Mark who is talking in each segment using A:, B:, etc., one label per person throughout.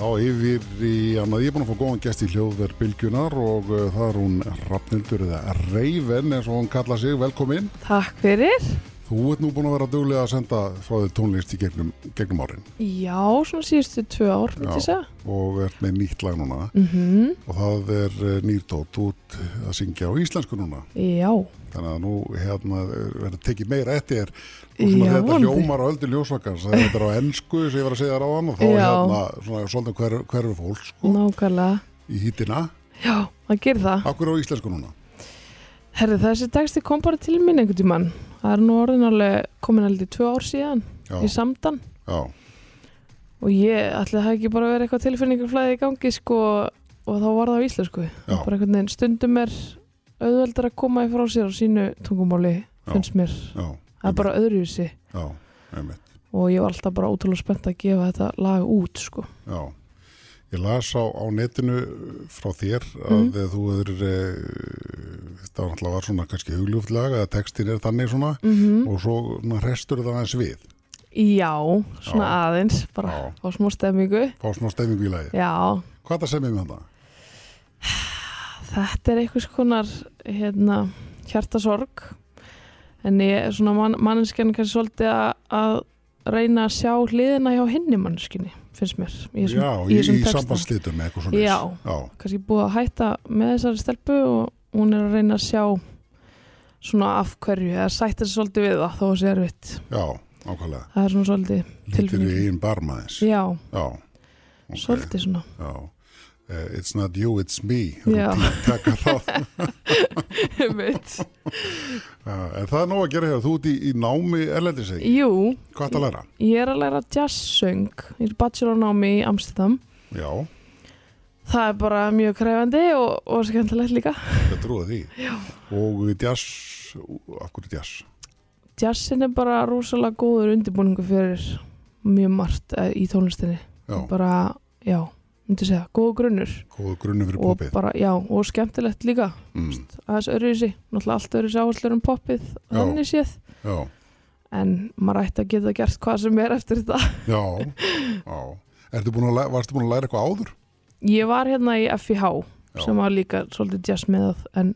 A: á yfir í annað. Ég er búin að fá góðan gest í hljóðverð Bilgjunar og uh, það er hún Rafnildur eða Reyven eins og hún kalla sig. Velkomin.
B: Takk fyrir.
A: Þú ert nú búin að vera duglega að senda frá þig tónlist í gegnum, gegnum árin
B: Já, svona síðustu tvö ár, myndi ég segja.
A: og ert með nýtt lag núna
B: Mhm.
A: og það er uh, nýrtótt út að syngja á íslensku núna.
B: Já,
A: Þannig að nú hérna er- verður tekið meira eftir þér og
B: Já,
A: svona þetta
B: vonandi.
A: ljómar á öldu ljósvakans þegar þetta er á ennsku sem ég var að segja þér á hann og þá er
B: Já.
A: hérna svona svolítið hverfi hver fólk sko,
B: nákvæmlega.
A: í hýtina.
B: Já, það gerir það.
A: Akkur á íslensku núna?
B: Herri, þessi texti kom bara til mín einhvern tímann. Það er nú orðin alveg komin aldrei tvö ár síðan
A: Já,
B: í samdan
A: já,
B: og ég ætli að það hafi ekki bara verið eitthvað tilfinningarflæði í gangi sko og þá var það á íslensku.
A: já,
B: Bara einhvern veginn stundum er auðveldar að koma í frá sér á sínu tungumáli,
A: Já.
B: finnst mér.
A: já,
B: Það er bara öðruvísi
A: já, einmitt,
B: og ég var alltaf bara ótrúlega spennt að gefa þetta lag út sko.
A: já. Ég las á, á netinu uh, frá þér að
B: Mhm.
A: þú er, e, þetta var alltaf var svona kannski hugljúftlag að textin er þannig svona
B: Mm
A: og svo na, restur það aðeins við.
B: Já, svona
A: Já.
B: aðeins, bara
A: Já.
B: á smá stemmingu.
A: Fá smá stemming í lagi.
B: Já,
A: Hvað það semið með þetta?
B: þetta er einhvers konar hérna, hjartasorg, en ég er svona man, manneskjarn kannski svolítið að, að reyna að sjá hliðina hjá hinni manneskinni, finnst mér. í þessum-
A: Já, í,
B: í þessum
A: í
B: texta.
A: sambandslitum eða eitthvað svona.
B: Já.
A: Já,
B: Kannski búið að hætta með þessari stelpu og hún er að reyna að sjá svona af hverju, eða sættir sig svolítið við það þó að sé erfitt.
A: já, ákvæmlega.
B: Það er svona svolítið,
A: Lítur í
B: Tilfinning.
A: einn barmaðins.
B: já,
A: Já. ok,
B: svolítið svona.
A: Já. Eh, it's not you, it's me.
B: Já.
A: Rútín, Taka það.
B: Einmitt.
A: Já, en það er nóg að gera hér, þú ert í, í námi erlendis ekki,
B: Jú,
A: hvað ertu að læra?
B: Ég er að læra jazzsöng, ég er bachelornámi í Amsterdam.
A: Já,
B: Það er bara mjög krefandi og, og skemmtilegt líka.
A: ég trúi því. Já. Og jazz, akkur er jazz?
B: Jazzin er bara rosalega góður undirbúningu fyrir mjög margt eh, í tónlistinni.
A: Já,
B: Bara, já, myndi segja, góður grunnur.
A: góða grunni fyrir
B: Og
A: popið.
B: bara, já, og skemmtilegt líka.
A: Mm.
B: Aðeins öryðsi, náttúrulega allt öryðsi áherslur um poppið,
A: Já.
B: þannig séð.
A: Já,
B: En maður ætti að geta gert hvað sem er eftir þetta.
A: já, já. Ertu búin að læra, varstu búin að læra eitthvað áður?
B: Ég var hérna í FIH
A: Já.
B: sem var líka svolítið jazz meðað en,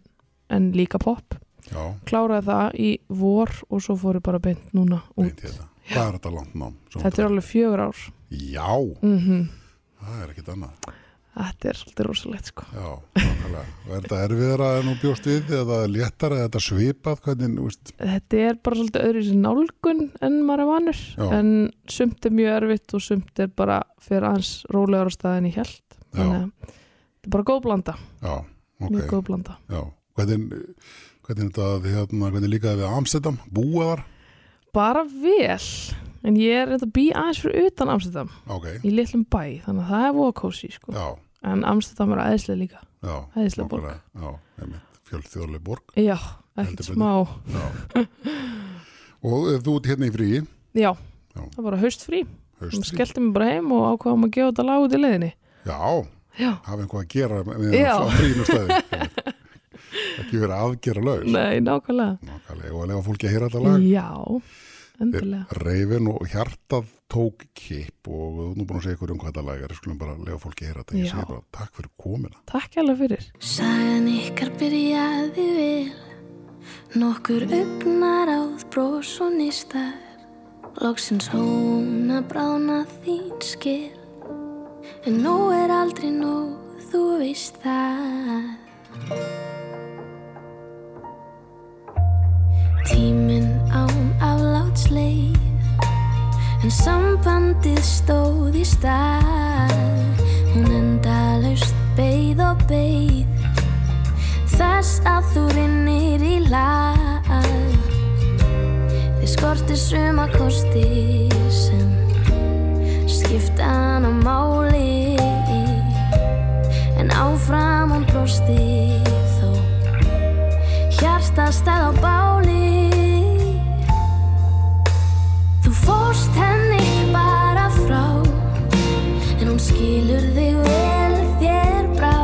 B: en líka popp.
A: Já,
B: kláraði það í vor og svo fór ég bara beint núna út.
A: veit ég þetta. Hvað er þetta langt nám? sem þú
B: Þetta er alveg fjögur ár.
A: Já,
B: Mm
A: það er ekkit annað.
B: Þetta er svolítið rosalegt sko.
A: Já, nákvæmlega. Og Er þetta erfiðara en þú bjóst við eða léttara eða þetta svipað? Hvernig, þú veist,
B: Þetta er bara svolítið öðru sér nálgun en maður er vanur.
A: Já.
B: En sumt er mjög erfitt og sumt er bara fyrir aðeins rólegur á staðin í held.
A: Já.
B: að þetta er bara góð blanda,
A: já,
B: mjög
A: ok.
B: góð blanda.
A: Já, hvernig, hvernig, þetta, hérna, hvernig líkaði við Amsterdam? Búa þar?
B: Bara vel, en ég er þetta bý aðeins fyrir utan Amsterdam
A: Ok,
B: í litlum bæ, þannig að það er voða kósi sko.
A: já,
B: En Amsterdam er æðislega líka,
A: já.
B: æðislega borg.
A: nákvæmlega, Já, einmitt, fjölþjóðlega borg.
B: Já,
A: Heldur
B: ekkert
A: betur.
B: smá.
A: Já. og eh, þú ert hérna í fríi,
B: Já,
A: Já.
B: það var bara haustfrí. Hún
A: haustfrí.
B: skellti mig bara heim og ákvaðum að gefa þetta lag út í leiðinni.
A: Já,
B: Já.
A: hafa einhvað að gera með
B: Já.
A: það fríinu stæði. Ekki verið aðgera laus.
B: Nei, nákvæmlega.
A: Nákvæmlega, og að lefa fólki að heyra þetta lag.
B: Já, endilega.
A: Reifin og hjartað tók kipp og við erum nú búin að segja ykkur um hvað þetta lag er, Við skulum bara lega fólki að heyra þetta, ég
B: Já.
A: segi bara takk fyrir komina.
B: Takk alveg fyrir.
C: Sagan ykkar byrjaði vel Nokkur augnar áð bros og nýstar Loksins hóna brána þín skil En nóg er aldrei nóg, þú veist það Tíminn án aflátsleið En sambandið stóð í stað Hún enda laust beið og beið Þess að þú rinnir í lag Þið skortir suma kosti sem Skipta hana máli En áfram hún brosti þó Hjarta stæð á báli Þú fórst henni bara frá En hún skilur þig vel þér brá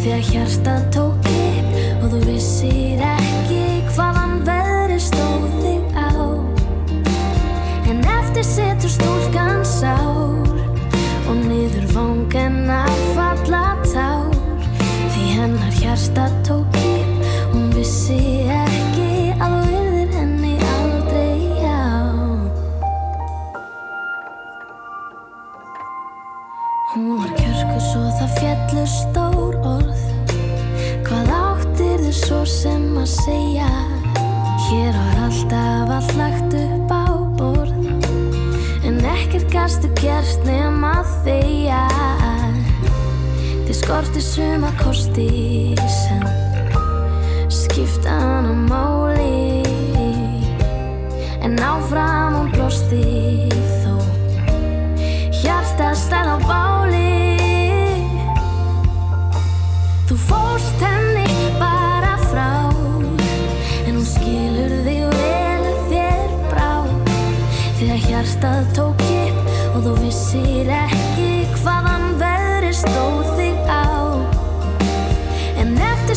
C: Þegar hjartað tók upp Og þú vissir ekki hvaðan veðri stóð þig á En eftir setur stúlkan sár Og niður tók en að falla tár Því hennar hjarta tók í Hún vissi ekki að þú yrðir henni aldrei já Hún var kjörku svo það fjallu stór orð Hvað áttir þið svo sem að segja Hér var alltaf allt lagt upp á borð En ekkert gastu gert nema þeia Þið skorti suma kosti sem Skipta hana máli En áfram hún brosti þó Hjarta stæð á báli Þú fórst henni bara frá En hún skilur þig vel ef þér brá Þegar hjartað tók upp Og þú vissir ekki hvaðan veðri stóð þig á En eftir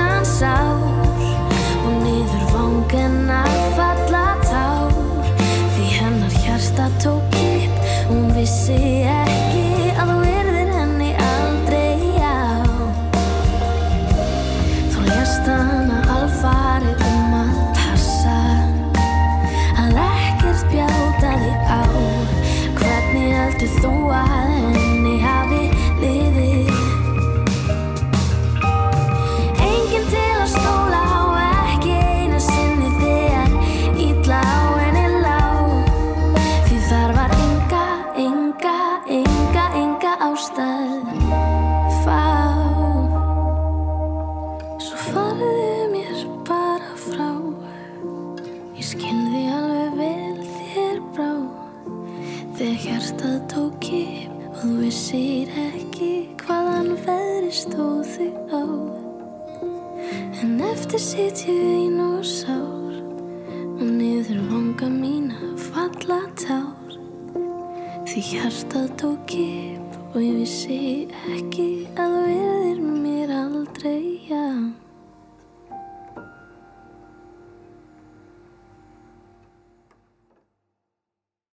C: sár Og niður vangena falla tár Því hennar hjarta tók upp og Hún vissi ekki að þú yrðir henni aldrei já Þú lést hana alfarið um að passa Að ekkert bjáta þig á Hvernig heldur þú að henni hafi liðið Enginn til að stóla á ekki einu sinni þegar illa á henni lá Því þar var enga, enga, enga, enga ástæð fá Svo farðu mér bara frá Ég skilði alveg vel þér brá Þegar hjartað tók ég og þú vissir ekki hvaðan veðri stóð þig á En eftir sit ég ein og sár Og niður vanga mína falla tár Því hjartað tók ég Og ég vissi ekki að þú verðir mér aldrei já